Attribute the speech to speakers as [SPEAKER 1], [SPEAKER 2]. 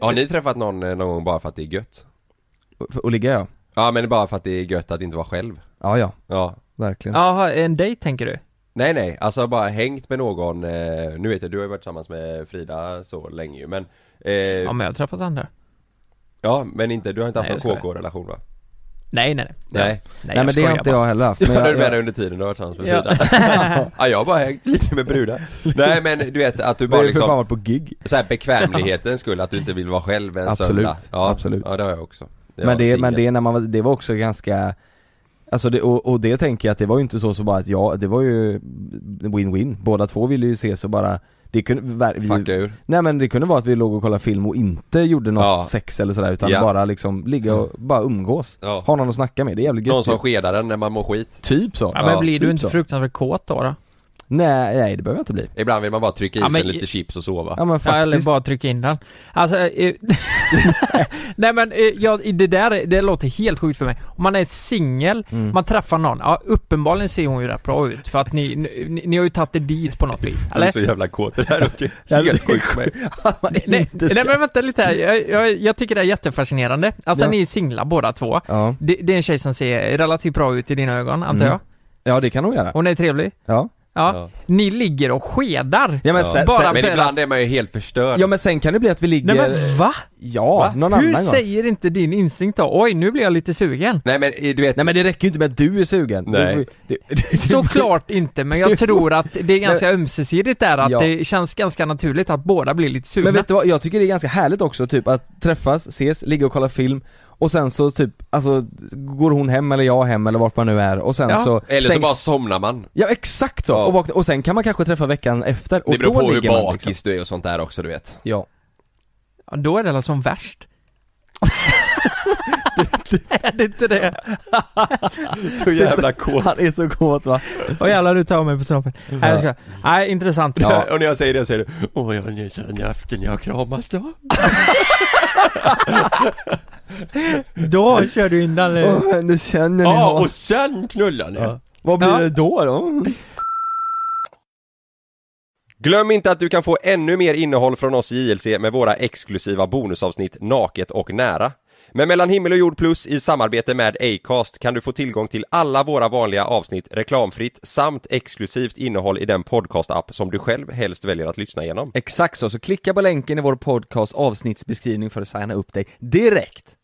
[SPEAKER 1] Har ni träffat någon eh, någon gång bara för att det är gött?
[SPEAKER 2] För att ligga ja.
[SPEAKER 1] Ja men bara för att det är gött att inte vara själv
[SPEAKER 2] Ja, ja.
[SPEAKER 1] Ja
[SPEAKER 2] Verkligen.
[SPEAKER 3] Jaha, en dejt tänker du?
[SPEAKER 1] Nej nej, alltså bara hängt med någon, eh, nu vet jag du har ju varit tillsammans med Frida så länge ju men eh,
[SPEAKER 3] Ja men jag har träffat andra
[SPEAKER 1] Ja men inte, du har inte haft
[SPEAKER 3] Nej,
[SPEAKER 1] någon
[SPEAKER 3] jag skojar.
[SPEAKER 1] KK-relation va?
[SPEAKER 3] Nej nej nej
[SPEAKER 1] Nej,
[SPEAKER 2] Nej men
[SPEAKER 3] nej,
[SPEAKER 2] det har
[SPEAKER 3] skojar
[SPEAKER 2] inte
[SPEAKER 3] bara.
[SPEAKER 2] jag heller haft.
[SPEAKER 1] jag
[SPEAKER 2] Men
[SPEAKER 1] hörde
[SPEAKER 2] jag,
[SPEAKER 1] med dig
[SPEAKER 2] jag,
[SPEAKER 1] under tiden du har varit tillsammans med
[SPEAKER 3] Ja.
[SPEAKER 1] Frida Ja jag har bara hängt lite med brudar Nej men du vet att du
[SPEAKER 2] jag
[SPEAKER 1] bara
[SPEAKER 2] har ju för fan
[SPEAKER 1] liksom,
[SPEAKER 2] varit på gig.
[SPEAKER 1] såhär bekvämlighetens skull, att du inte vill vara själv en
[SPEAKER 2] Absolut,
[SPEAKER 1] söndag ja,
[SPEAKER 2] absolut.
[SPEAKER 1] Ja det har jag också Jag
[SPEAKER 2] men,
[SPEAKER 1] var
[SPEAKER 2] det, men
[SPEAKER 1] singel.
[SPEAKER 2] det, är när man, var- det var också ganska Alltså det, och, och det tänker jag att det var ju inte så så bara att jag, det var ju win-win. Båda två ville ju ses och bara det kunde, ver- vi,
[SPEAKER 1] Fucka ur
[SPEAKER 2] Nej men det kunde vara att vi låg och kollade film och inte gjorde något
[SPEAKER 1] Ja.
[SPEAKER 2] sex eller sådär utan
[SPEAKER 1] Ja.
[SPEAKER 2] bara liksom ligga och bara umgås
[SPEAKER 1] Ja.
[SPEAKER 2] Ha någon att snacka med, det är jävligt gött
[SPEAKER 1] Någon som
[SPEAKER 2] ju.
[SPEAKER 1] skedar den när man mår skit
[SPEAKER 2] Typ så
[SPEAKER 3] Ja men
[SPEAKER 1] Ja,
[SPEAKER 3] blir
[SPEAKER 2] typ
[SPEAKER 3] du inte
[SPEAKER 2] så.
[SPEAKER 3] fruktansvärt kåt då? då?
[SPEAKER 2] Nej, nej det behöver jag inte bli
[SPEAKER 1] Ibland vill man bara trycka i
[SPEAKER 3] Ja, men
[SPEAKER 1] sig
[SPEAKER 3] i-
[SPEAKER 1] lite chips och
[SPEAKER 2] Ja
[SPEAKER 1] sova
[SPEAKER 2] men
[SPEAKER 3] Ja, eller
[SPEAKER 2] faktiskt
[SPEAKER 3] bara trycka in den. Alltså, eh, nej men eh, ja, det där är- det låter helt sjukt för mig. Om man är singel,
[SPEAKER 2] Mm.
[SPEAKER 3] man träffar någon, ja uppenbarligen ser hon ju rätt bra ut för att ni, ni, ni har ju tagit det dit på något vis.
[SPEAKER 1] Du är
[SPEAKER 3] Eller?
[SPEAKER 1] så jävla kåt, det där låter ju helt sjukt för mig
[SPEAKER 3] Nej,
[SPEAKER 2] inte ska-
[SPEAKER 3] nej men vänta lite här, jag, jag, jag tycker det är jättefascinerande. Alltså
[SPEAKER 2] Ja.
[SPEAKER 3] ni är singlar båda två.
[SPEAKER 2] Ja.
[SPEAKER 3] Det, det är en tjej som ser relativt bra ut i dina ögon, antar
[SPEAKER 2] Mm.
[SPEAKER 3] jag.
[SPEAKER 2] ja det kan hon göra
[SPEAKER 3] Hon är trevlig.
[SPEAKER 2] Ja,
[SPEAKER 3] Ja. Ni ligger och skedar.
[SPEAKER 2] ja men,
[SPEAKER 1] Ja.
[SPEAKER 2] Sen,
[SPEAKER 3] Bara
[SPEAKER 2] sen,
[SPEAKER 1] Men
[SPEAKER 3] för-
[SPEAKER 1] ibland är man ju helt förstörd
[SPEAKER 2] ja, men sen kan det bli att vi ligger
[SPEAKER 3] Nej men va?
[SPEAKER 2] Ja,
[SPEAKER 1] Va?
[SPEAKER 2] någon
[SPEAKER 3] Hur
[SPEAKER 2] annan gång
[SPEAKER 3] säger inte din instinkt då? Oj, nu blir jag lite sugen.
[SPEAKER 1] Nej men eh, du vet,
[SPEAKER 2] Nej men det räcker ju inte med att du är sugen
[SPEAKER 1] Nej.
[SPEAKER 2] Du får- du- du-
[SPEAKER 3] Såklart inte, men jag tror att det är ganska ömsesidigt där att
[SPEAKER 2] Ja.
[SPEAKER 3] det känns ganska naturligt att båda blir lite sugna.
[SPEAKER 2] Men vet du vad, jag tycker det är ganska härligt också typ att träffas, ses, ligga och kolla film och sen så typ, alltså går hon hem eller jag hem eller vart man nu är och sen
[SPEAKER 3] Ja.
[SPEAKER 2] så
[SPEAKER 1] eller så
[SPEAKER 2] sen,
[SPEAKER 1] bara somnar man
[SPEAKER 2] Ja exakt så!
[SPEAKER 1] Ja.
[SPEAKER 2] Och, vakna, och sen kan man kanske träffa veckan efter och
[SPEAKER 1] Det beror
[SPEAKER 2] då
[SPEAKER 1] på hur
[SPEAKER 2] ligger man,
[SPEAKER 1] bakis
[SPEAKER 2] liksom.
[SPEAKER 1] du är och sånt där också du vet
[SPEAKER 2] Ja,
[SPEAKER 3] Ja, Då är det alla som värst. är det inte det?
[SPEAKER 1] Så
[SPEAKER 2] jävla
[SPEAKER 1] kåt
[SPEAKER 2] han är så kåt va?
[SPEAKER 3] Åh jävlar, du tar mig på snoppen. Nej, jag skojar. Nej, intressant.
[SPEAKER 1] ja. Och när jag säger det så säger du Åh jag har en sån afton jag har kramat då
[SPEAKER 3] Då kör du in den. eller?
[SPEAKER 2] Åh, nu känner ni
[SPEAKER 1] Ja
[SPEAKER 2] honom.
[SPEAKER 1] och sen knullar ni
[SPEAKER 2] Ja. Vad blir
[SPEAKER 3] Ja.
[SPEAKER 2] det då då?
[SPEAKER 1] Glöm inte att du kan få ännu mer innehåll från oss i JLC med våra exklusiva bonusavsnitt Naket och nära. Med Mellan himmel och jord plus i samarbete med Acast kan du få tillgång till alla våra vanliga avsnitt reklamfritt samt exklusivt innehåll i den podcastapp som du själv helst väljer att lyssna igenom.
[SPEAKER 2] Exakt så, så klicka på länken i vår podcast avsnittsbeskrivning för att signa upp dig direkt.